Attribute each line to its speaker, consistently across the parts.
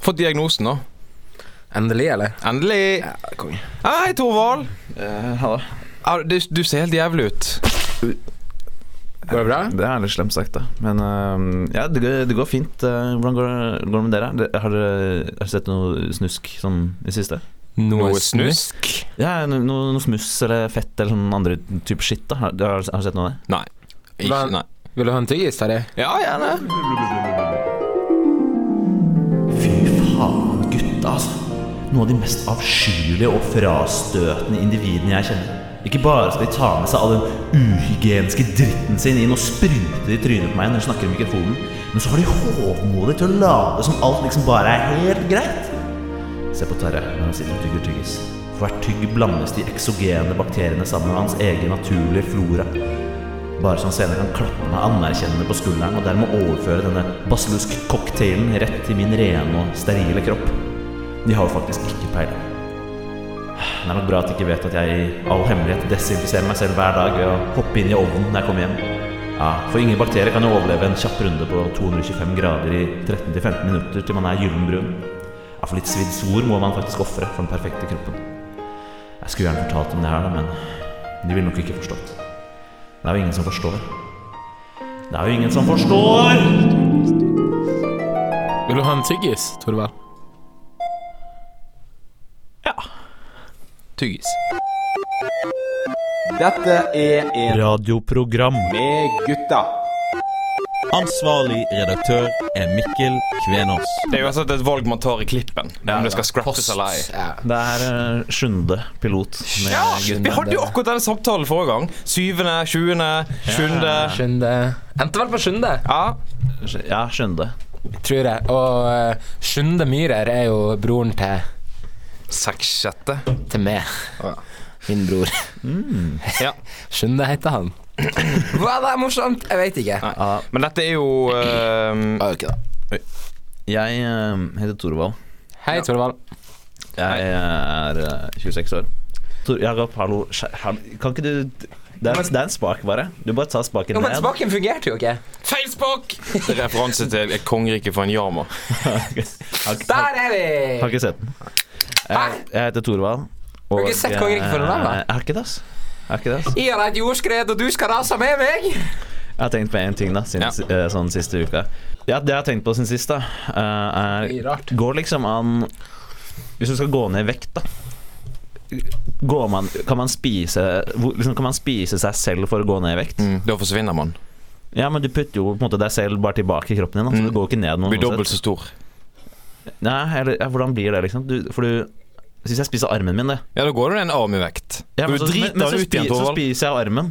Speaker 1: fått diagnosen, da.
Speaker 2: Endelig, eller?
Speaker 1: Endelig.
Speaker 2: konge.
Speaker 1: Hei, Torvald.
Speaker 3: Hallo.
Speaker 1: Au, Du, du ser helt jævlig ut.
Speaker 2: Går det bra?
Speaker 3: Det er litt slemt sagt, da. Men eh, ja, det går, det går fint. Eh, Hvordan går det, går det med dere? Det- Har dere har dere sett noe snusk sånn i siste?
Speaker 1: Noe
Speaker 2: snusk?
Speaker 3: Ja, no, no, noe smuss eller fett eller sånn andre type skitt, da. Har, har, har dere sett noe av det?
Speaker 1: Ikke,
Speaker 2: Hva-
Speaker 1: nei.
Speaker 2: Vil du ha en tyggis, Terje?
Speaker 1: Ja, gjerne.
Speaker 3: Fy faen, gutta, altså. Noen av de mest avskyelige og frastøtende individene jeg kjenner. Ikke bare skal de ta med seg all den uhygieniske dritten sin inn og sprute det i trynet på meg når de snakker i mikrofonen, men så har de hovmodig til å late som alt liksom bare er helt greit. Se på Terje når han sitter og tygger tyggis. For hvert tygg blandes de eksogene bakteriene sammen med hans egen naturlige flora. Bare så han senere kan klappe meg anerkjennende på skulderen og dermed overføre denne basillusk-cocktailen rett til min rene og sterile kropp. De har jo faktisk ikke peiling. Det er nok bra at de ikke vet at jeg i all hemmelighet desinfiserer meg selv hver dag ved å hoppe inn i ovnen når jeg kommer hjem. Ja, For ingen bakterier kan jo overleve en kjapp runde på 225 grader i 13-15 minutter til man er gyllenbrun. Ja, For litt svidd svor må man faktisk ofre for den perfekte kroppen. Jeg skulle gjerne fortalt om det her, da, men de ville nok ikke forstått. Det er jo ingen som forstår. Det er jo ingen som forstår!
Speaker 2: Vil du ha en tyggis, Torvald?
Speaker 1: Tyggis.
Speaker 4: Dette er en
Speaker 3: Radioprogram.
Speaker 4: med gutta.
Speaker 5: Ansvarlig redaktør er Mikkel Kvenås.
Speaker 1: Det er uansett et valg man tar i klippen. om det skal scrappes eller ei.
Speaker 2: Ja.
Speaker 3: Det er eh, sjuende pilot. med
Speaker 1: Ja,
Speaker 3: gutt.
Speaker 1: vi hadde jo akkurat den samtalen forrige gang. Syvende, tjuende, sjuende.
Speaker 2: Sjunde. Endte vel på sjunde,
Speaker 1: Ja.
Speaker 3: Ja, sjuende.
Speaker 2: tror jeg. Og eh, Sjunde Myhrer er jo broren til,
Speaker 1: Sekssjette.
Speaker 2: til meg. Min bror.
Speaker 4: Mm.
Speaker 1: Ja.
Speaker 2: Sjunde heter han. Var det morsomt? Jeg vet ikke.
Speaker 1: Nei.
Speaker 3: Ja,
Speaker 1: Men dette er jo ehm,
Speaker 2: Var jo ikke det.
Speaker 3: jeg eh, heter Torvald.
Speaker 2: Hei, Torvald.
Speaker 3: Jeg er eh, 26 år. Tor Jakob, hallo skje- hal- Kan ikke du det er, det er en spak, bare. Du bare tar spaken
Speaker 2: Jo, men
Speaker 3: ned.
Speaker 2: spaken fungerte jo ikke.
Speaker 1: Feil språk! Referanse til et kongerike for en jarmo.
Speaker 3: Har, ikke- har,
Speaker 2: Der er vi!
Speaker 3: har ikke sett den. Jeg, jeg heter Torvald.
Speaker 2: Har du ikke sett Kongeriket for noen annen, da?
Speaker 3: eh, Jeg har ikke det, ass. Jeg har ikke det, ass.
Speaker 2: Jeg har et jordskred, og du skal rase med meg!
Speaker 3: Jeg har tenkt på én ting da siden
Speaker 1: Ja.
Speaker 3: si- eh, sånn siste uka. Ja, det jeg har tenkt på siden sist, da, eh,
Speaker 2: Mye
Speaker 3: er
Speaker 2: rart.
Speaker 3: Går liksom an Hvis du skal gå ned i vekt, da. Går man, kan, man spise, hvor- liksom, kan man spise seg selv for å gå ned i vekt?
Speaker 1: Da forsvinner man.
Speaker 3: Ja, men du putter jo på en måte deg selv bare tilbake i kroppen din. Da, så
Speaker 1: Mm.
Speaker 3: du går ikke ned noe.
Speaker 1: Blir
Speaker 3: sånn
Speaker 1: dobbelt så
Speaker 3: sett.
Speaker 1: stor.
Speaker 3: Nei, eller, ja, hvordan blir det, liksom? Du, for du Hvis jeg spiser armen min, det
Speaker 1: Ja, da går du en arm i vekt.
Speaker 3: ja,
Speaker 1: For
Speaker 3: men,
Speaker 1: du
Speaker 3: så, men,
Speaker 1: driter
Speaker 3: men så,
Speaker 1: den ut
Speaker 3: spi,
Speaker 1: igjen,
Speaker 3: så
Speaker 1: Torvald.
Speaker 3: spiser jeg armen.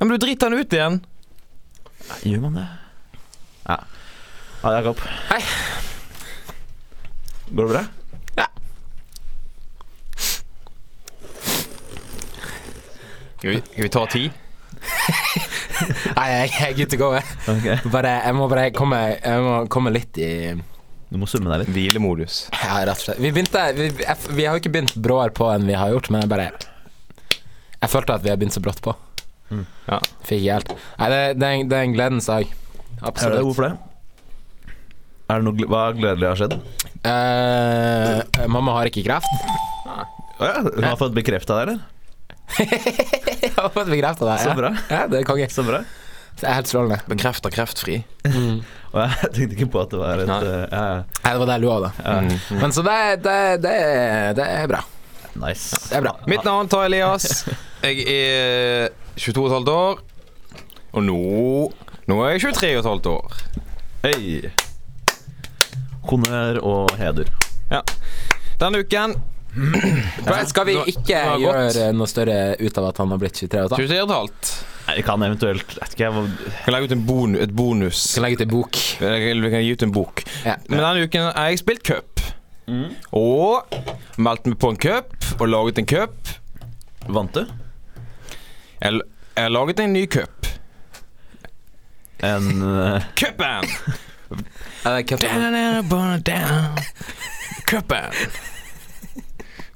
Speaker 1: Ja, men du driter den ut igjen.
Speaker 3: Gjør man det? Ja. Ja, Jakob.
Speaker 2: Hei.
Speaker 3: Går det bra?
Speaker 1: Skal vi, skal vi ta ti?
Speaker 2: Nei, jeg jeg er good to go. jeg.
Speaker 3: Ok.
Speaker 2: Bare, jeg må bare komme, jeg må komme litt i
Speaker 3: Du må summe deg litt.
Speaker 1: Hvilemodus.
Speaker 2: Ja, rett og slett. Vi, begynte, vi, jeg- vi har jo ikke begynt bråere på enn vi har gjort, men jeg bare Jeg følte at vi har begynt så brått på.
Speaker 3: Mm.
Speaker 1: Ja.
Speaker 2: Fikk ikke helt Nei, det, det, er, en- det er en gledens
Speaker 3: Er
Speaker 2: dag.
Speaker 3: det,
Speaker 2: Absolutt.
Speaker 3: hvorfor det? Er det noe, gl- hva gledelig har skjedd?
Speaker 2: Eh, mamma har ikke kreft.
Speaker 3: Å ja, Hun har fått bekrefta det, eller?
Speaker 2: Jeg har fått bekrefta det.
Speaker 3: Så
Speaker 2: Ja.
Speaker 3: bra.
Speaker 2: Ja, det er konge.
Speaker 3: Så bra.
Speaker 2: Det er helt strålende.
Speaker 1: Bekrefter kreftfri.
Speaker 3: Og jeg tenkte ikke på at det var et
Speaker 1: Nei.
Speaker 3: eh, ja, ja.
Speaker 2: Nei, det var det jeg lo av, da.
Speaker 1: Mm.
Speaker 2: Men så det, det, det, er- det er bra.
Speaker 3: Nice.
Speaker 2: Det er bra.
Speaker 1: Mitt navn er Elias. Jeg er 22,5 år. Og nå Nå er jeg 23,5 år.
Speaker 3: Hei. Honnør og heder.
Speaker 1: Denne uken
Speaker 2: Men Skal vi
Speaker 1: Nå-
Speaker 2: ikke
Speaker 1: nå har det gått.
Speaker 2: gjøre noe større ut av at han har blitt 23 og et halvt?
Speaker 1: 23,5.
Speaker 3: Nei, Vi kan eventuelt Jeg vet ikke, jeg må-
Speaker 1: Jeg kan legge ut en bonu- et bonus.
Speaker 2: Skal legge ut en bok.
Speaker 1: Jeg kan gi ut en bok.
Speaker 2: Ja.
Speaker 1: Men denne uken har jeg spilt cup. Mm. Og meldte meg på en cup og laget en cup.
Speaker 3: Vant du?
Speaker 1: Jeg, l- jeg har laget en ny cup.
Speaker 3: En eh,
Speaker 1: Cupen! Eh,
Speaker 2: Er det cupen?
Speaker 1: Cupen.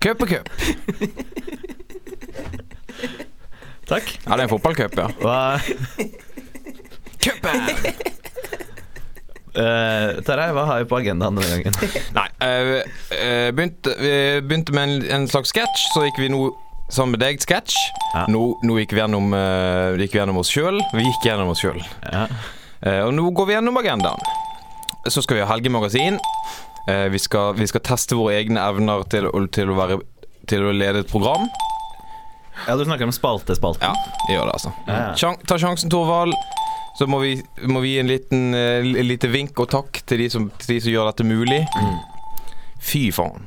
Speaker 1: Cup og cup.
Speaker 3: Takk.
Speaker 1: Ja, det er en fotballcup, ja.
Speaker 3: Hva
Speaker 1: Cupen!
Speaker 3: Eh, Tarjei, hva har vi på agendaen denne gangen?
Speaker 1: Nei. eh, eh, begynte, vi begynte med en, en slags sketsj, så gikk vi nå sammen med deg sketsj.
Speaker 3: Ja.
Speaker 1: Nå, nå gikk vi gjennom, eh, gikk vi gjennom oss sjøl. Vi gikk gjennom oss sjøl.
Speaker 3: Ja.
Speaker 1: Eh, og nå går vi gjennom agendaen. Så skal vi ha helgemagasin. Eh, vi, skal, vi skal teste våre egne evner til, å- til, å være, til å lede et program.
Speaker 3: ja, du snakker om spalte-spalten.
Speaker 1: Ja, vi gjør det, altså.
Speaker 3: Ja.
Speaker 1: Sjan- ta sjansen, Torvald. Så må vi, må vi gi en liten eh, l- lite vink og takk til de som, til de som gjør dette mulig. Fy faen.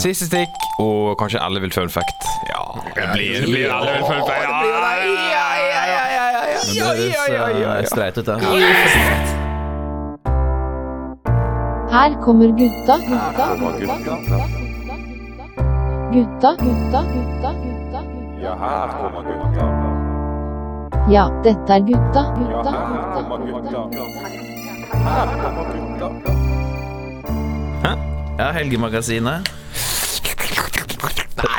Speaker 1: Siste stikk og kanskje 11 fun fact. Ja, det blir, det blir 11 fun fact. Ja, ja, ja, ja, ja, ja.
Speaker 3: Det høres eh, streit ut, da.
Speaker 6: Her kommer gutta. Gutta. Gutta. Gutta. Gutta. Gutta. Gutta.
Speaker 7: Ja, her kommer gutta.
Speaker 6: Ja, dette er gutta.
Speaker 7: Ja,
Speaker 6: Gutta.
Speaker 7: her kommer
Speaker 6: Gutta.
Speaker 7: gutta.
Speaker 6: Gutta.
Speaker 7: Her kommer gutta.
Speaker 3: Ja, Helgemagasinet.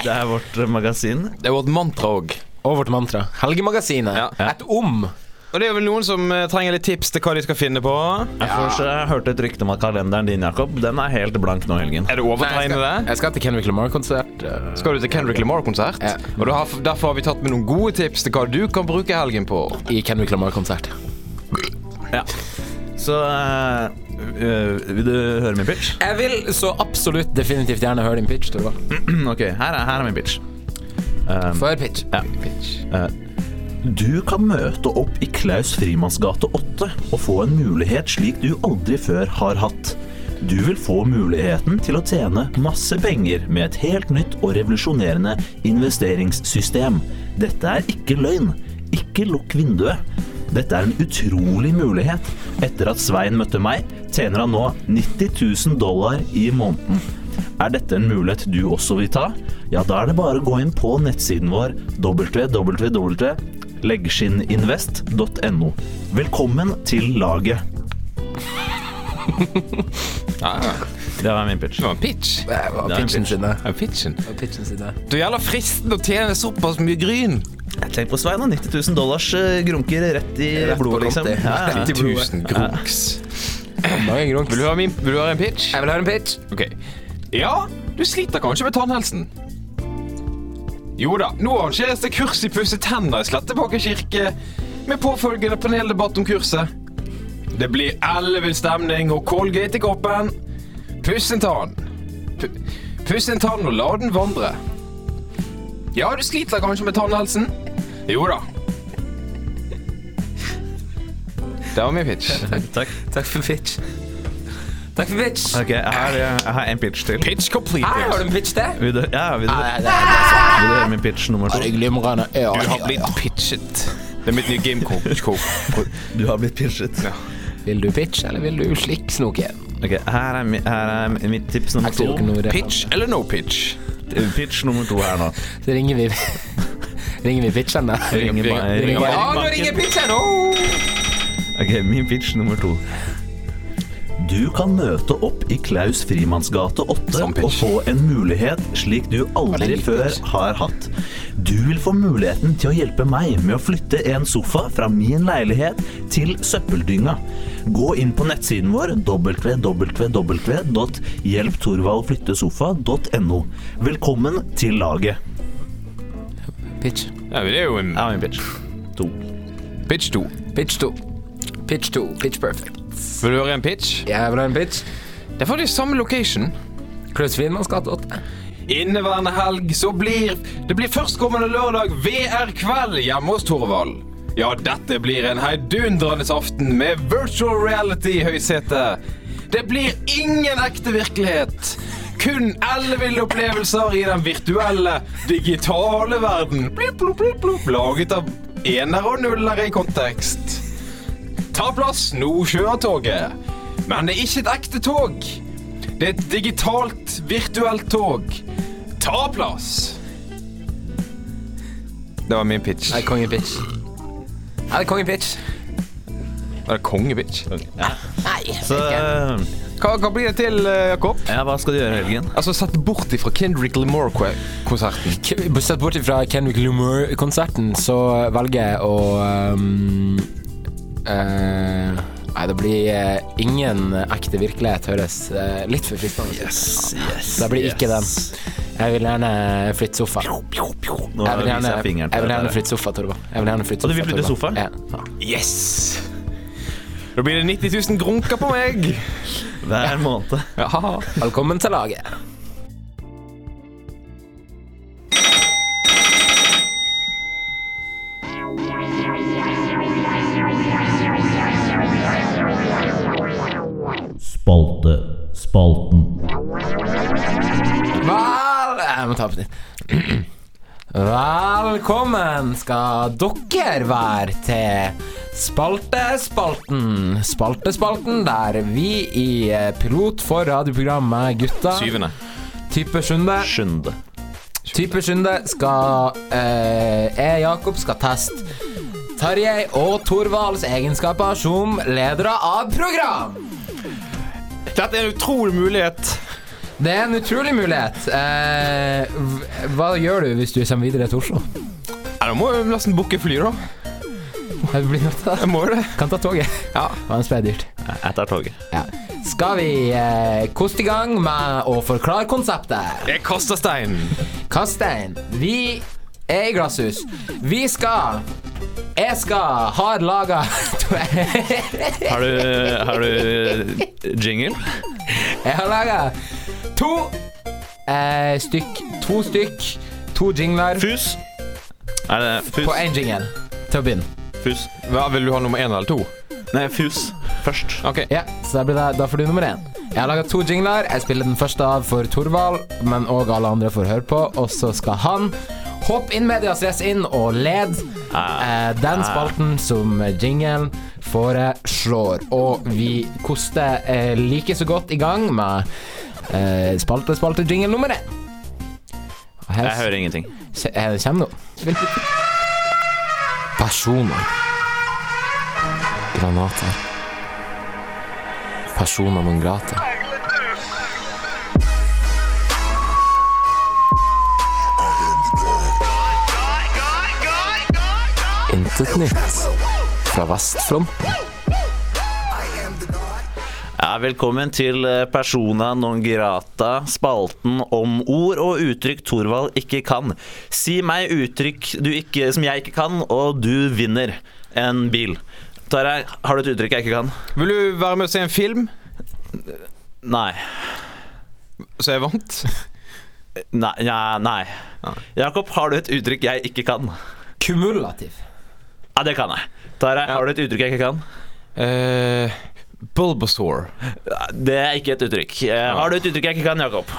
Speaker 3: Det er vårt eh, magasin.
Speaker 1: Det er vårt mantra òg.
Speaker 2: Og vårt mantra. Helgemagasinet.
Speaker 1: Ja.
Speaker 2: Et om.
Speaker 1: Og det er vel noen som eh, trenger litt tips til hva de skal finne på.
Speaker 3: Jeg får så jeg hørte et rykte om at kalenderen din, Jakob, den er helt blank nå i helgen.
Speaker 1: Er det
Speaker 2: Nei, jeg, skal,
Speaker 1: overtegnede?
Speaker 2: jeg skal til Kendrick Lamar-konsert. eh,
Speaker 1: Skal du til Kendrick Lamar-konsert?
Speaker 2: Ja.
Speaker 1: Og da har- derfor har vi tatt med noen gode tips til hva du kan bruke helgen på.
Speaker 2: I Kendrick Lamar-konsert.
Speaker 3: Ja. Så eh, øh, vil du høre min pitch?
Speaker 2: Jeg vil så absolutt definitivt gjerne høre din pitch, Torvald.
Speaker 3: Ok, her er, her er min pitch. Um,
Speaker 2: Før pitch.
Speaker 3: Ja. Du kan møte opp i Klaus Frimanns gate 8 og få en mulighet slik du aldri før har hatt. Du vil få muligheten til å tjene masse penger med et helt nytt og revolusjonerende investeringssystem. Dette er ikke løgn. Ikke lukk vinduet. Dette er en utrolig mulighet. Etter at Svein møtte meg, tjener han nå 90 000 dollar i måneden. Er dette en mulighet du også vil ta? Ja, da er det bare å gå inn på nettsiden vår www.leggskinninvest.no. Velkommen til laget.
Speaker 1: Ja,
Speaker 2: Ah.
Speaker 1: ja.
Speaker 3: Det var min pitch.
Speaker 1: Det var en pitch.
Speaker 2: Det var
Speaker 3: Det er en
Speaker 2: pitchen
Speaker 3: pitch.
Speaker 2: sin, det.
Speaker 1: Det var pitchen.
Speaker 2: Det var pitchen sin, det.
Speaker 1: Du gjelder fristen å tjene såpass mye gryn.
Speaker 3: Tenk på Svein, da. 90 000 dollars eh, grunker rett i
Speaker 2: Rett på
Speaker 3: blodet, liksom.
Speaker 2: konti.
Speaker 3: Ja, ja.
Speaker 1: 1000 grunks.
Speaker 2: Mange grunks.
Speaker 1: Vil du høre, min, vil du høre en pitch?
Speaker 2: Jeg vil høre en pitch.
Speaker 1: Ok. Ja, du sliter kanskje med tannhelsen. Jo da, nå arrangeres det kurs i pusse tenner i Slettebakken kirke, med påfølgende paneldebatt om kurset. Det blir ellevill stemning og Colgate i koppen. Puss en tann. Pu- Puss en tann og la den vandre. Ja, du sliter kanskje med tannhelsen? Jo da. Det var min pitch.
Speaker 3: Takk.
Speaker 2: Takk for pitch. Takk for pitch.
Speaker 3: Ok, jeg har, eh, jeg har en pitch til.
Speaker 1: Pitch completed.
Speaker 2: Her har du en pitch til.
Speaker 3: Vil du, ja, vil du,
Speaker 2: Nei, Ah, det er
Speaker 3: vil du høre min pitch nummer to?
Speaker 2: glimrende. Ja,
Speaker 1: Du har blitt pitchet. Det er mitt nye gamecoach.
Speaker 3: Du har blitt pitchet.
Speaker 2: Vil du pitch, eller vil du slikke snoke?
Speaker 3: Ok, her er, mi, her er mitt tips nummer to.
Speaker 1: Pitch eller no pitch?
Speaker 3: Pitch nummer to her nå.
Speaker 2: Så ringer vi Ringer vi pitcheren, da?
Speaker 3: Ringer ba-
Speaker 1: Ringer-
Speaker 3: ringer
Speaker 1: Ja,
Speaker 2: bare-
Speaker 1: nå ringer pitcheren! Oh!
Speaker 3: Ok, min pitch nummer to. Du kan møte opp i Klaus Frimanns gate 8
Speaker 1: Samme pitch.
Speaker 3: og få en mulighet slik du aldri før har hatt. Du vil få muligheten til å hjelpe meg med å flytte en sofa fra min leilighet til søppeldynga. Gå inn på nettsiden vår www.hjelptorvaldflyttesofa.no. Velkommen til laget.
Speaker 2: Pitch.
Speaker 1: Ja, men det er jo en
Speaker 3: Ja, min pitch. To.
Speaker 1: pitch to.
Speaker 2: Pitch 2. Pitch 2. Pitch perfect.
Speaker 1: Vil du høre en pitch?
Speaker 2: Jeg vil ha en pitch.
Speaker 1: Det er faktisk samme location.
Speaker 2: Klaus Finmanns gate 8.
Speaker 1: Inneværende helg så blir Det blir førstkommende lørdag VR-kveld hjemme hos Torvald. Ja, dette blir en heidundrende aften med virtual reality i høysetet. Det blir ingen ekte virkelighet. Kun elleville opplevelser i den virtuelle, digitale verden. Blip, blop, blip, blop, laget av enere og nullere i kontekst. Ta plass, nå kjører toget. Men det er ikke et ekte tog. Det er et digitalt, virtuelt tog. Ta plass! Det var min pitch.
Speaker 2: Er det kongepitch? Er det kongepitch?
Speaker 1: Er det kongepitch?
Speaker 3: Så
Speaker 1: Hva, hva blir det til, eh, Jakob?
Speaker 3: ja, hva skal du gjøre i helgen?
Speaker 1: Altså, Sett bort ifra Kendrick Lamar-konserten.
Speaker 2: Sett bort fra Kendrick Lumor-konserten, så velger jeg å um, eh, Nei, det blir eh, ingen ekte virkelighet, høres eh, litt for fristende ut.
Speaker 3: Yes, yes,
Speaker 2: Det blir ikke den.
Speaker 3: yes.
Speaker 2: Jeg vil gjerne flytte sofa. Jeg
Speaker 3: Nå
Speaker 2: vil
Speaker 3: viser
Speaker 2: gjerne,
Speaker 3: jeg fingeren til
Speaker 2: jeg vil
Speaker 3: deg
Speaker 2: gjerne
Speaker 3: der.
Speaker 2: flytte sofa, Torvald. Jeg vil gjerne flytte
Speaker 3: Og du
Speaker 2: sofa,
Speaker 3: vil flytte
Speaker 2: Torvald.
Speaker 3: sofaen?
Speaker 1: Yes! Da blir det 90 000 grunker på meg.
Speaker 3: Hver måned.
Speaker 1: Ja.
Speaker 2: Ja. Velkommen til laget.
Speaker 3: Spalte. Spalten.
Speaker 2: Vel, jeg må ta på nytt. Velkommen skal dere være til Spaltespalten. Spaltespalten der vi i eh, pilot for radioprogrammet Gutta
Speaker 1: Syvende.
Speaker 2: Type Sunde
Speaker 3: Sjunde.
Speaker 2: Type Sunde skal eh, Jeg, Jakob, skal teste Tarjei og Torvalds egenskaper som ledere av program.
Speaker 1: Dette er en utrolig mulighet.
Speaker 2: Det er en utrolig mulighet. Eh, hv- hva gjør du hvis du kommer videre til Oslo?
Speaker 1: Ja, da må jeg nesten booke fly, da.
Speaker 2: Jeg blir nødt til det.
Speaker 1: Jeg må jo det.
Speaker 2: Kan ta toget.
Speaker 1: Ja.
Speaker 2: Vanskelig er dyrt.
Speaker 3: Jeg tar toget.
Speaker 2: Ja. Skal vi eh, koste i gang med å forklare konseptet?
Speaker 1: Jeg kaster stein.
Speaker 2: Kastein, vi er i glasshus. Vi skal Jeg skal Har laga
Speaker 3: Har du, har du jingle?
Speaker 2: Jeg har laga to eh, stykk To stykk. To jingler
Speaker 3: Fus. Er det fus?
Speaker 2: på én jingle til å begynne.
Speaker 3: Fus.
Speaker 1: Hva, vil du ha nummer én eller to?
Speaker 3: Nei, fus først.
Speaker 1: Ok.
Speaker 2: Ja, så da, blir det, da får du nummer én. Jeg har laga to jingler. Jeg spiller den første av for Torvald, men òg alle andre får høre på. Og så skal han hoppe inn medias race inn og lede
Speaker 3: Ah.
Speaker 2: eh, den spalten som jinglen foreslår. Og vi koster eh, like så godt i gang med eh, spalte, spalte, jingle nummer én. Og her
Speaker 3: Jeg hører ingenting.
Speaker 2: s- eh, det kommer nå. Personer. Granater. Persona non grata. Intet nytt fra vestfronten.
Speaker 3: Ja, velkommen til eh, Persona non grata, spalten om ord og uttrykk Thorvald ikke kan. Si meg uttrykk du ikke, som jeg ikke kan, og du vinner en bil. Tarjei, har du et uttrykk jeg ikke kan?
Speaker 1: Vil du være med og se en film,
Speaker 3: Nei.
Speaker 1: så jeg vant?
Speaker 3: Nei. Ja, nei. Jakob, har du et uttrykk jeg ikke kan?
Speaker 2: Kumulativ.
Speaker 3: Ja, det kan jeg. Tarjei, har du et uttrykk jeg ikke kan?
Speaker 1: Eh, Bulbasaur.
Speaker 3: Ja, Det er ikke et uttrykk. Eh, Har du et uttrykk jeg ikke kan, Jakob?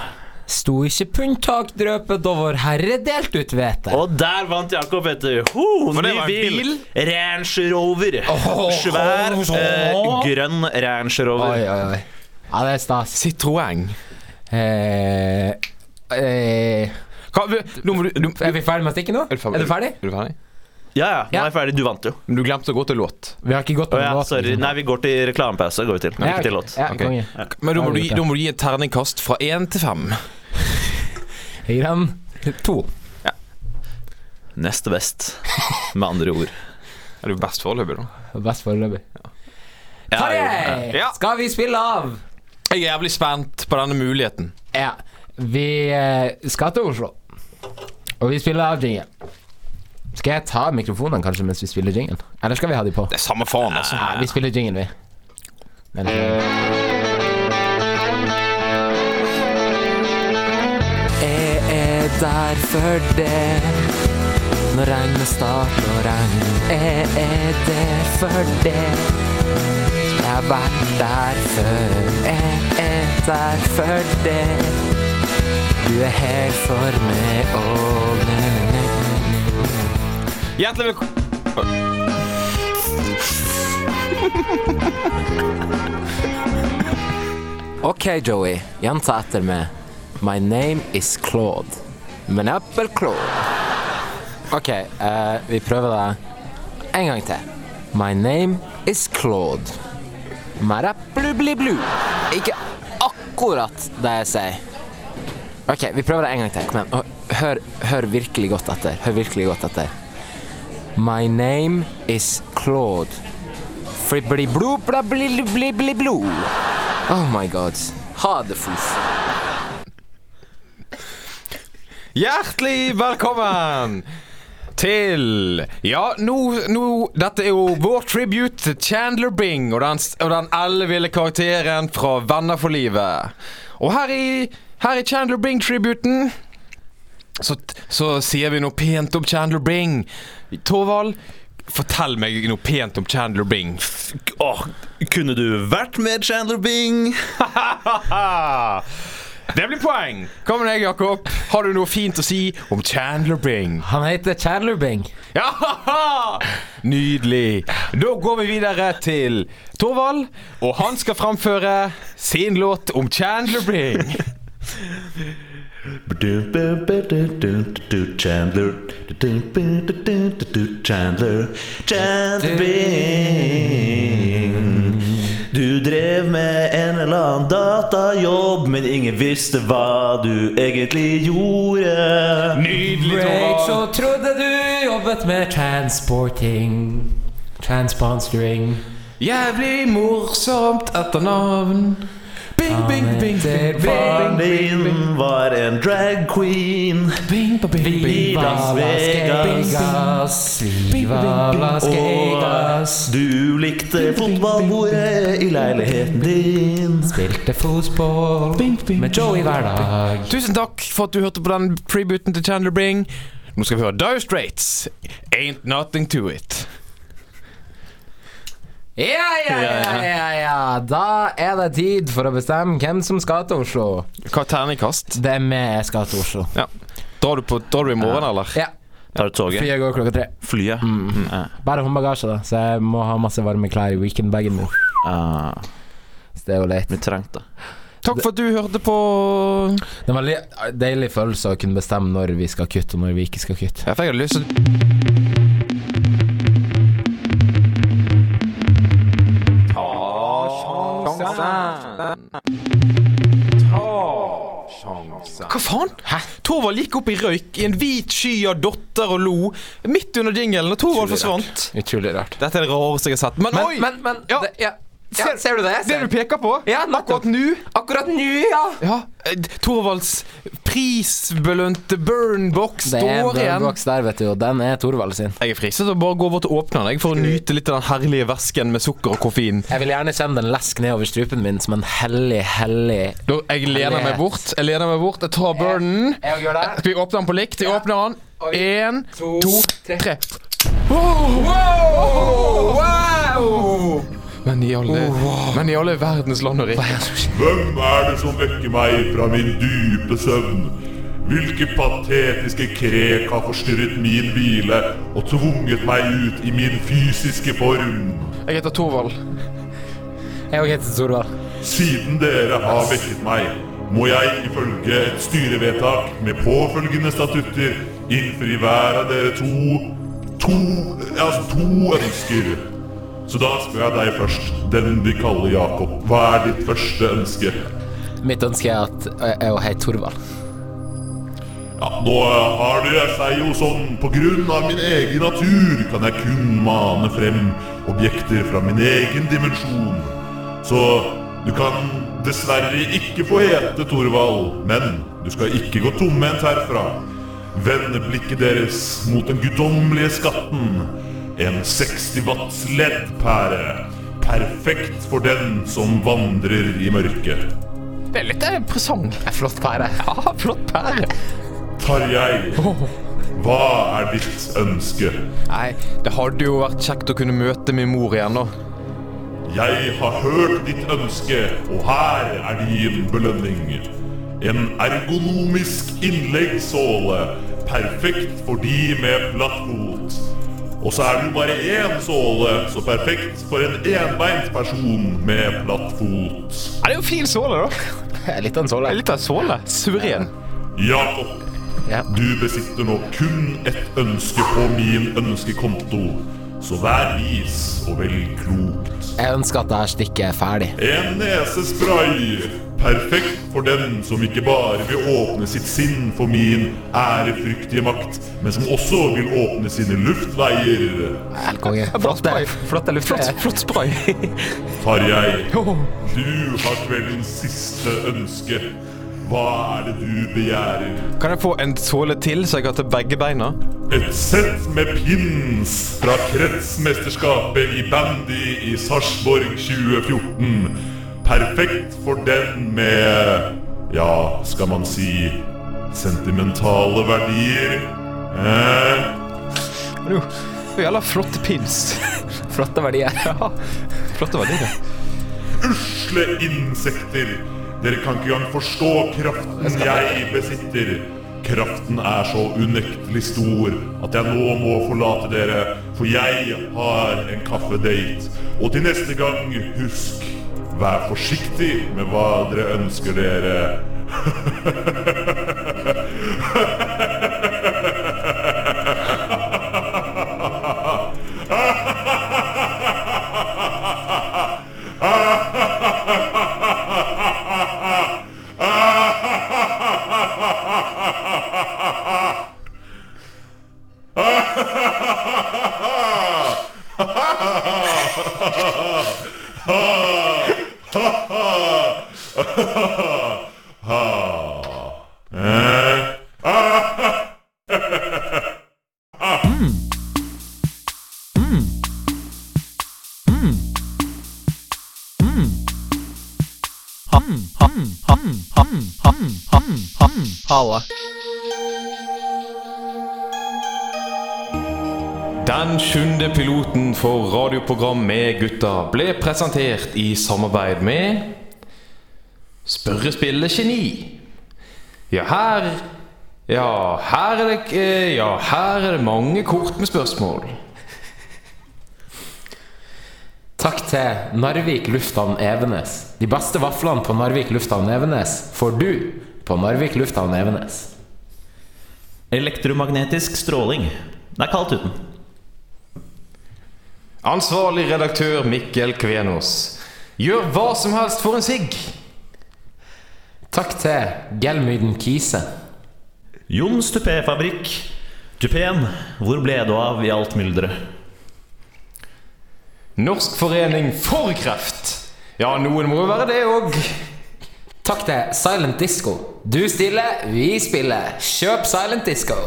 Speaker 2: Sto ikke punntak drøpet da vår herre delt ut hvete.
Speaker 3: Og der vant Jakob, vet du. Ho,
Speaker 1: For
Speaker 3: ny
Speaker 1: det var en
Speaker 3: bil.
Speaker 1: bil?
Speaker 3: Range Rover.
Speaker 2: Åh,
Speaker 3: Svær,
Speaker 2: åh,
Speaker 3: eh,
Speaker 2: åh.
Speaker 3: grønn Range Rover.
Speaker 2: Oi, oi, oi. Ja, det er stas.
Speaker 1: Citroën.
Speaker 2: Eh, eh,
Speaker 1: Hva, vi- nå må du, du
Speaker 2: er vi ferdig med stikken nå? Er du ferdig?
Speaker 1: Er du ferdig?
Speaker 3: Ja, ja, nå
Speaker 2: Ja.
Speaker 3: er jeg ferdig. Du vant jo.
Speaker 1: Men du glemte å gå til låt.
Speaker 2: Vi har ikke gått
Speaker 3: Å
Speaker 2: med
Speaker 3: ja,
Speaker 2: låten,
Speaker 3: sorry.
Speaker 2: liksom.
Speaker 3: Nei, vi går til reklamepause. Går vi til.
Speaker 2: Ja,
Speaker 3: Ikke til låt.
Speaker 2: Ja,
Speaker 1: Ok.
Speaker 2: konge.
Speaker 1: Men da må,
Speaker 2: Ja,
Speaker 1: du,
Speaker 2: vi
Speaker 1: gi-
Speaker 2: gjør det.
Speaker 1: da må du gi et terningkast fra én til fem.
Speaker 2: Grann to.
Speaker 3: Nest best, med andre ord.
Speaker 1: Er du best foreløpig, da?
Speaker 2: Best foreløpig.
Speaker 3: Ja,
Speaker 2: Tarjei!
Speaker 1: Ja.
Speaker 2: Skal vi spille av?
Speaker 1: Jeg er jævlig spent på denne muligheten.
Speaker 2: Ja. Vi eh, skal til Oslo. Og vi spiller av jingle. Skal jeg ta mikrofonene kanskje mens vi spiller jingle? Eller skal vi ha de på?
Speaker 1: Det er samme faen, altså.
Speaker 2: Nei, vi spiller jingle, vi. Men, Jeg er der for det når regnet starter å regne. Jeg er der for det. Jeg har vært der før. Jeg er der for det. Du er her for meg og
Speaker 1: Hjertelig velkommen
Speaker 2: OK, Joey. Gjenta etter meg. My name is Claude. Men apple Claude. OK, eh, vi prøver det en gang til. My name is Claude. Men apple blir blue. Ikke akkurat det jeg sier. OK, vi prøver det en gang til. Kom igjen. Og Hør, hør virkelig godt etter. Hør virkelig godt etter. My name is Claude. Flippeli-blo-bla-bli-bli-bli-blo. Oh my god. Ha det, Foof.
Speaker 1: Hjertelig velkommen til Ja, nå, nå Dette er jo vår tribute til Chandler Bing og den, og den elleville karakteren fra Venner for livet. Og her i, her i Chandler Bing-tributen så, så sier vi noe pent om Chandler Bing. Torvald, fortell meg noe pent om Chandler Bing.
Speaker 5: Åh, kunne du vært med Chandler Bing?
Speaker 1: Det blir poeng! Hva med deg, Jakob? Har du noe fint å si om Chandler Bing?
Speaker 2: Han heter Chandler Bing.
Speaker 1: Ja, haha! Nydelig. Da går vi videre til Torvald, og han skal framføre sin låt om Chandler Bing.
Speaker 3: Chandler Chandler Chandler Bing Du drev med en eller annen datajobb Men ingen visste hva du egentlig gjorde
Speaker 1: Nydelig,
Speaker 2: Break, så
Speaker 1: Torvald.
Speaker 2: trodde du jobbet med transporting. Transponsoring.
Speaker 1: Jævlig morsomt etternavn. Bing, bing, bing, bing,
Speaker 3: Faren
Speaker 1: bing, bing, bing,
Speaker 3: din var en drag queen
Speaker 1: bing, bing, bing,
Speaker 3: Vi
Speaker 1: bing.
Speaker 3: Las
Speaker 2: Viva Las
Speaker 3: Vegas.
Speaker 2: Vegas. Viva Las Vegas.
Speaker 3: Og du likte fotballbordet i leiligheten din
Speaker 2: Spilte fotball med Joey hver dag.
Speaker 1: Tusen takk for at du hørte på den tributen til Chandler Bing. Nå skal vi høre Dire Straits. Ain't nothing to it.
Speaker 2: Ja, ja, ja, ja, ja. Da er det tid for å bestemme hvem som skal til Oslo.
Speaker 1: Hva terningkast?
Speaker 2: Det er meg jeg skal til Oslo.
Speaker 1: Ja. Drar du, på, drar du i morgen, eller?
Speaker 2: Ja,
Speaker 5: Tar du toget?
Speaker 2: Flyet går klokka tre.
Speaker 5: Flyet?
Speaker 2: Mm,
Speaker 5: Ja.
Speaker 2: Bare håndbagasje, da, så jeg må ha masse varme klær i weekendbagen min.
Speaker 5: Ah,
Speaker 2: Så det er jo leit.
Speaker 5: blir trengt, da.
Speaker 1: Takk for at du hørte på
Speaker 2: Det var en li- deilig følelse å kunne bestemme når vi skal kutte, og når vi ikke skal kutte.
Speaker 1: Jeg fikk lyst til Hva faen? Hæ? Torvald gikk opp i røyk i en hvit sky av dotter og lo midt under jingelen, og Torvald forsvant.
Speaker 2: Utrolig rart.
Speaker 1: Dette er det rareste jeg har sett. Men, oi! ja,
Speaker 2: det- ja. Ja,
Speaker 1: Ser-
Speaker 2: du det? Jeg
Speaker 1: det du peker på,
Speaker 2: Ja,
Speaker 1: akkurat nå
Speaker 2: Akkurat nå, ja.
Speaker 1: ja, eh, Torvalds prisbelønte burnbox
Speaker 2: Det er en
Speaker 1: står igjen.
Speaker 2: brødboks der, vet du, og den er Thorvald sin.
Speaker 1: Jeg er fristet til å bare gå over til åpneren jeg, for å nyte litt av den herlige væsken med sukker og koffein.
Speaker 2: Jeg vil gjerne kjenne den lesk nedover strupen min som en hellig, hellig
Speaker 1: Da, jeg lener meg bort. Jeg lener meg bort, jeg tar burnen.
Speaker 2: Jeg gjør det.
Speaker 1: Skal vi åpne den på likt? Jeg åpner den. Én,
Speaker 2: to,
Speaker 1: Eh, to,
Speaker 2: tre.
Speaker 1: tre. Wow! Wow! Men i alle, Oh. men i alle verdens land og rike
Speaker 8: Hvem er det som vekker meg fra min dype søvn? Hvilke patetiske krek har forstyrret min hvile og tvunget meg ut i min fysiske form?
Speaker 1: Jeg heter Torvald.
Speaker 2: Jeg òg heter Thorvald.
Speaker 8: Siden dere har vekket meg, må jeg ifølge et styrevedtak med påfølgende statutter innfri hver av dere to to altså to ønsker. Så da spør jeg deg først, den vi kaller Jakob. Hva er ditt første ønske?
Speaker 2: Mitt ønske er at jeg- jeg òg heter Thorvald.
Speaker 8: Ja, nå eh, har det seg jo sånn På grunn av min egen natur Kan jeg kun mane frem Objekter fra min egen dimensjon Så du kan dessverre ikke få hete Torvald Men du skal ikke gå tomhendt herfra Vende blikket deres mot den guddommelige skatten En 60 watts leddpære Perfekt for den som vandrer i mørket
Speaker 1: Det er litt en presang.
Speaker 2: Flott pære.
Speaker 1: Ja, flott pære.
Speaker 8: Tarjei, hva er ditt ønske?
Speaker 1: Nei, det hadde jo vært kjekt å kunne møte min mor igjen, da.
Speaker 8: Jeg har hørt ditt ønske, og her er din belønning. En ergonomisk innleggssåle, perfekt for de med flatt fot. Og så er det jo bare én såle, så perfekt for en enbeint person med flatt fot.
Speaker 1: Ja, det er jo fin såle, da.
Speaker 2: Jeg er litt av en
Speaker 1: Det er
Speaker 2: såle.
Speaker 1: Litt av en såle. Suveren.
Speaker 8: Jakob,
Speaker 2: Ja.
Speaker 8: du besitter nå kun ett ønske på min ønskekonto. så vær vis og velg klokt.
Speaker 2: Jeg ønsker at dette stikket er ferdig.
Speaker 8: En nesespray, perfekt for den som ikke bare vil åpne sitt sinn for min ærefryktige makt, men som også vil åpne sine luftveier.
Speaker 2: Helt konge. Flott, flott, flott, flott spray.
Speaker 8: Tarjei, du har kveldens siste ønske. Hva er det du begjærer?
Speaker 1: Kan jeg få en såle til, så jeg har til begge beina?
Speaker 8: Et sett med pins fra kretsmesterskapet i bandy i Sarpsborg 2014. Perfekt for den med Ja, skal man si sentimentale verdier? Eh?
Speaker 1: Men jo, det er Jævla flotte pins.
Speaker 2: Flotte verdier.
Speaker 1: Flotte verdier.
Speaker 8: usle insekter. Dere kan ikke engang forstå kraften jeg besitter. Kraften er så unektelig stor at jeg nå må forlate dere, for jeg har en kaffedate. Og til neste gang, husk, vær forsiktig med hva dere ønsker dere.
Speaker 2: Halla.
Speaker 1: Den sjuende piloten for radioprogram med gutta ble presentert i samarbeid med Spørrespillet Geni. Ja, her Ja, her er det eh, Ja, her er det mange kort med spørsmål.
Speaker 2: Takk til Narvik lufthavn Evenes. De beste vaflene på Narvik lufthavn Evenes får du på Narvik lufthavn Evenes.
Speaker 3: Elektromagnetisk stråling. Det er kaldt uten.
Speaker 1: Ansvarlig redaktør Mikkel Kvenås. Gjør hva som helst for en sigg.
Speaker 2: Takk til Gelmyden Kise.
Speaker 3: Jons tupéfabrikk. Tupéen, hvor ble du av i alt mylderet?
Speaker 1: Norsk forening for kreft. Ja, noen må jo være det òg.
Speaker 2: Takk til Silent Disco. Du stiller, vi spiller. Kjøp Silent Disco.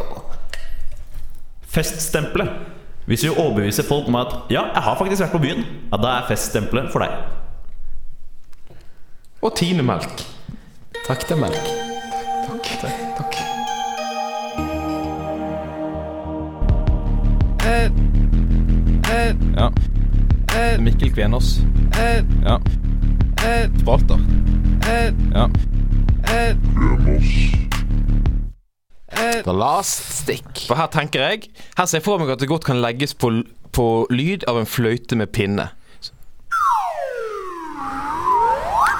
Speaker 3: Feststempelet. Hvis vi overbeviser folk om at 'ja, jeg har faktisk vært på byen', ja, da er feststempelet for deg.
Speaker 1: Og tinemelk.
Speaker 2: Takk til Melk.
Speaker 1: Takk. Takk. Ja. Mikkel Kvenås. Ja. Spalter. Ja.
Speaker 2: The last stick.
Speaker 1: For her tenker jeg Her ser jeg for meg at det godt kan legges på, l- på lyd av en fløyte med pinne.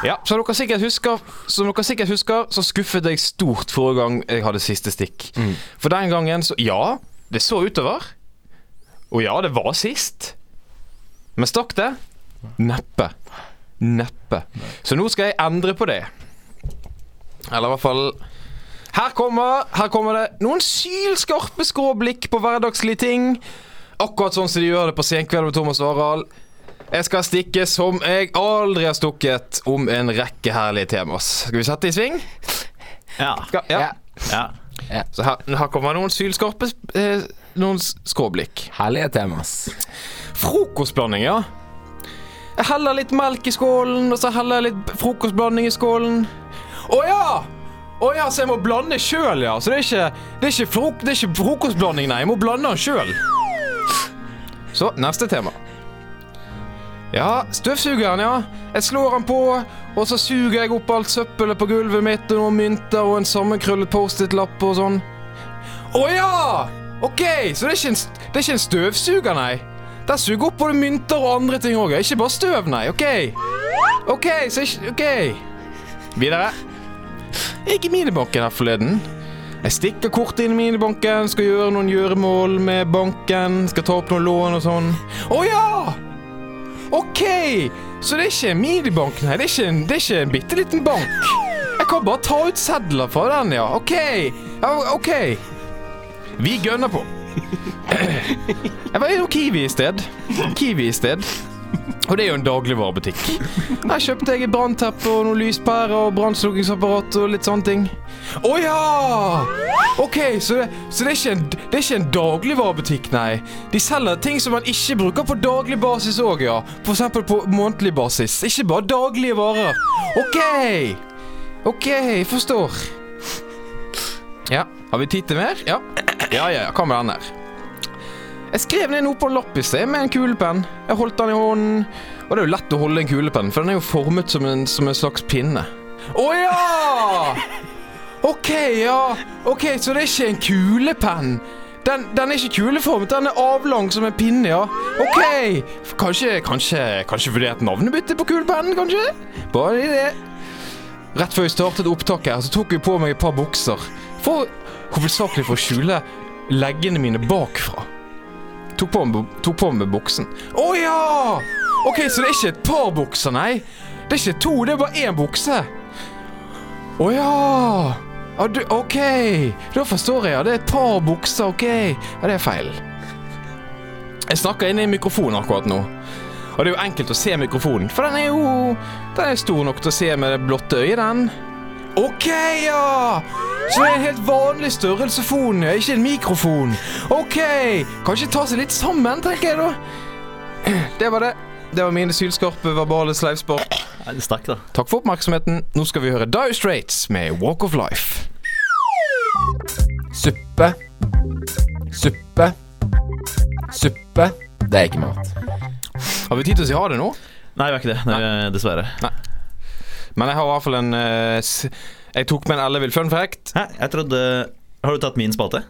Speaker 1: Ja, som dere, sikkert husker, som dere sikkert husker, så skuffet jeg stort forrige gang jeg hadde siste stikk. For den gangen så Ja, det så utover. Og ja, det var sist. Men stakk det? Neppe. Neppe. Så nå skal jeg endre på det. Eller i hvert fall her kommer, her kommer det noen sylskarpe skråblikk på hverdagslige ting. Akkurat sånn som de gjør det på Senkveld med Thomas og Harald. Jeg skal stikke som jeg aldri har stukket, om en rekke herlige temas. Skal vi sette i sving?
Speaker 3: Ja.
Speaker 1: Skal, ja.
Speaker 2: Ja.
Speaker 3: ja.
Speaker 1: Så her, her kommer noen sylskarpe eh, noen s- skråblikk.
Speaker 2: Herlige temas.
Speaker 1: Frokostblanding, ja. Jeg heller litt melk i skålen, og så heller jeg litt frokostblanding i skålen. Å ja! Å ja, så jeg må blande sjøl, ja. Så det er ikke, det er ikke, frok det er ikke frokostblanding, nei. Jeg må blande den sjøl. Så, neste tema. Ja, støvsugeren, ja. Jeg slår den på, og så suger jeg opp alt søppelet på gulvet mitt, og noen mynter og en sammenkrøllet Post-It-lapp og sånn. Å ja! Ok, så det er, ikke en, st- det er ikke en støvsuger, nei. Den suger opp både mynter og andre ting òg. Ikke bare støv, nei. Ok. Ok, så ikke Ok. Videre. Jeg gikk i minibanken her forleden. Jeg stikker kortet inn i minibanken, skal gjøre noen gjøremål med banken, skal ta opp noen lån og sånn. Å ja! OK! Så det er ikke en minibank, nei. Det er ikke en, det er ikke en bitte liten bank. Jeg kan bare ta ut sedler fra den, ja. OK. Ja, OK. Vi gønner på. Jeg var innom Kiwi i sted. Kiwi i sted. Og det er jo en dagligvarebutikk. Der kjøpte jeg et brannteppe og noen lyspærer og brannslukkingsapparat og litt sånne ting. Å ja! OK, så, det, så det, er ikke en, det er ikke en dagligvarebutikk, nei. De selger ting som man ikke bruker på daglig basis òg, ja. For eksempel på månedlig basis. Ikke bare daglige varer. OK! OK, jeg forstår. Ja. Har vi tid til mer? Ja. Ja, ja, ja. Hva med den her? Jeg skrev ned noe på en lapp i sted med en kulepenn. Jeg holdt den i hånden. Og det er jo lett å holde en kulepenn, for den er jo formet som en, som en slags pinne. Å ja! OK, ja. OK, så det er ikke en kulepenn. Den, den er ikke kuleformet, den er avlang som en pinne, ja. OK. Kanskje, kanskje, kanskje vurdert navnebytte på kulepennen, kanskje? Bare en idé. Rett før vi startet opptaket her, så tok jeg på meg et par bukser. For hovedsakelig for å skjule leggene mine bakfra. Tok på meg, tok på meg buksen. Å ja! OK, så det er ikke et par bukser, nei. Det er ikke to, det er bare én bukse. Å ja. ja du, OK. Da forstår jeg, ja. Det er et par bukser, OK. Ja, det er feil. Jeg snakker inn i mikrofonen akkurat nå. Og det er jo enkelt å se mikrofonen, for den er jo Den er stor nok til å se med det blotte øyet, den. OK, ja! Så det er en helt vanlig størrelsefon, ja, ikke en mikrofon. OK, kanskje ta seg litt sammen, tenker jeg da. Det var det. Det var mine sylskarpe verbale sleivspark.
Speaker 3: Nei, det stakk, da.
Speaker 1: Takk for oppmerksomheten. Nå skal vi høre Dire Straits med Walk of Life.
Speaker 2: Suppe. Suppe. Suppe. Det er ikke mat.
Speaker 1: Har vi tid til å si ha det nå?
Speaker 3: Nei, vi er ikke det. Nei, Dessverre.
Speaker 1: Men jeg har i hvert fall en eh, s- Jeg tok med en ellevill fun fact.
Speaker 3: Hæ, jeg trodde Har du tatt min spalte?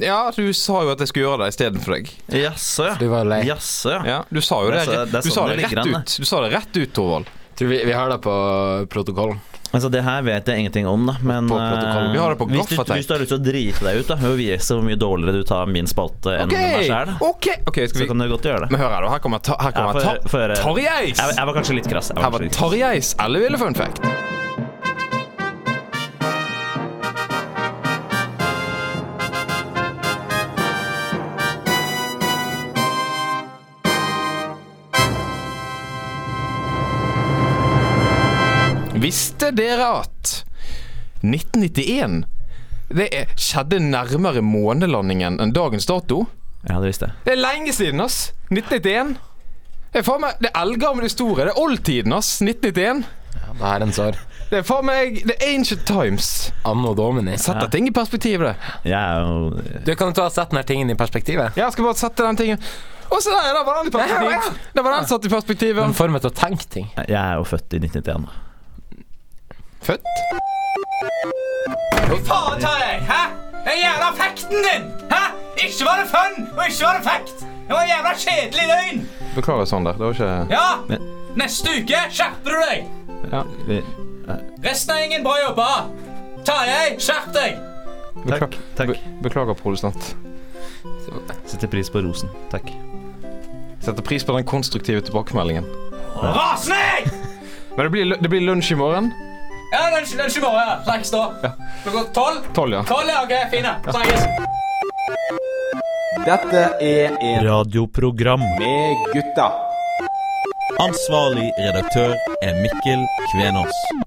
Speaker 1: Ja, du sa jo at jeg skulle gjøre det istedenfor deg.
Speaker 3: Jaså, ja.
Speaker 2: Du var lei.
Speaker 3: Jaså, ja.
Speaker 1: Ja, du sa jo det,
Speaker 3: Det er så- det er
Speaker 1: du
Speaker 3: sånn
Speaker 1: sa
Speaker 3: det
Speaker 1: det
Speaker 3: ligger
Speaker 1: rett
Speaker 3: an, det.
Speaker 1: ut. Du sa det rett ut, Torvald.
Speaker 2: Tror vi, vi har det på protokollen.
Speaker 3: Altså, det her vet jeg ingenting om, da. Men
Speaker 2: På protokollen.
Speaker 3: eh,
Speaker 1: Vi har det på
Speaker 3: hvis, du,
Speaker 1: gaffateip.
Speaker 3: hvis du har lyst til å drite deg ut da, ved å vise hvor mye dårligere du tar min spalte enn
Speaker 1: OK!
Speaker 3: meg sjæl,
Speaker 1: ok, ok,
Speaker 3: så
Speaker 1: skal vi
Speaker 3: kan du godt gjøre det.
Speaker 1: Men hør her, da. Her kommer, ta, her kommer
Speaker 3: Ja, få-
Speaker 1: ta,
Speaker 3: få høre.
Speaker 1: Tarjeis!
Speaker 3: Jeg, jeg var kanskje litt krass. jeg
Speaker 1: Her
Speaker 3: var
Speaker 1: var
Speaker 3: kanskje litt krass.
Speaker 1: Tarjeis elleville fun fact. Visste dere at 1991 det er, skjedde nærmere månelandingen enn dagens dato?
Speaker 3: Ja, det visste jeg.
Speaker 1: Det er lenge siden, ass. 1991. Det er faen meg Det er eldgammel historie. Det er oldtiden, ass. 1991.
Speaker 2: Det er en sår.
Speaker 1: Det er faen meg The Ancient Times.
Speaker 2: Anno domini.
Speaker 1: Setter ting i perspektiv, det.
Speaker 3: Jeg er jo
Speaker 2: Du kan ta og sette denne tingen i perspektivet.
Speaker 1: Ja, Jeg skal bare sette den tingen Og se der, da var den i
Speaker 2: Ja, ja.
Speaker 1: perspektiv. Da var den satt i perspektiv.
Speaker 2: Den får meg til å tenke ting.
Speaker 3: Jeg er jo født i 1991. da.
Speaker 1: Født?
Speaker 9: Hva faen tar jeg? Hæ? Den jævla facten din! Hæ? Ikke var det fun, og ikke var det fact. Det var en jævla kjedelig løgn.
Speaker 1: Beklager, Sander. Det var ikke
Speaker 9: Ja,
Speaker 3: Men-
Speaker 9: neste uke skjerper du deg.
Speaker 3: Vi-
Speaker 9: Resten av gjengen bra jobba. Tarjei, skjerp deg.
Speaker 3: Takk. takk.
Speaker 1: Beklager, produsent.
Speaker 3: Setter pris på rosen. Takk.
Speaker 1: Setter pris på den konstruktive tilbakemeldingen.
Speaker 9: Rasende jeg!
Speaker 1: Men det blir, lu- det blir lunsj i morgen.
Speaker 9: Ja, den den er ikke vår, ja. Slags da. Klokka tolv.
Speaker 1: Tolv, ja.
Speaker 9: Tolv, ja, ok, fine. Snakkes.
Speaker 4: Dette er en
Speaker 5: Radioprogram.
Speaker 4: med gutta.
Speaker 5: Ansvarlig redaktør er Mikkel Kvenås.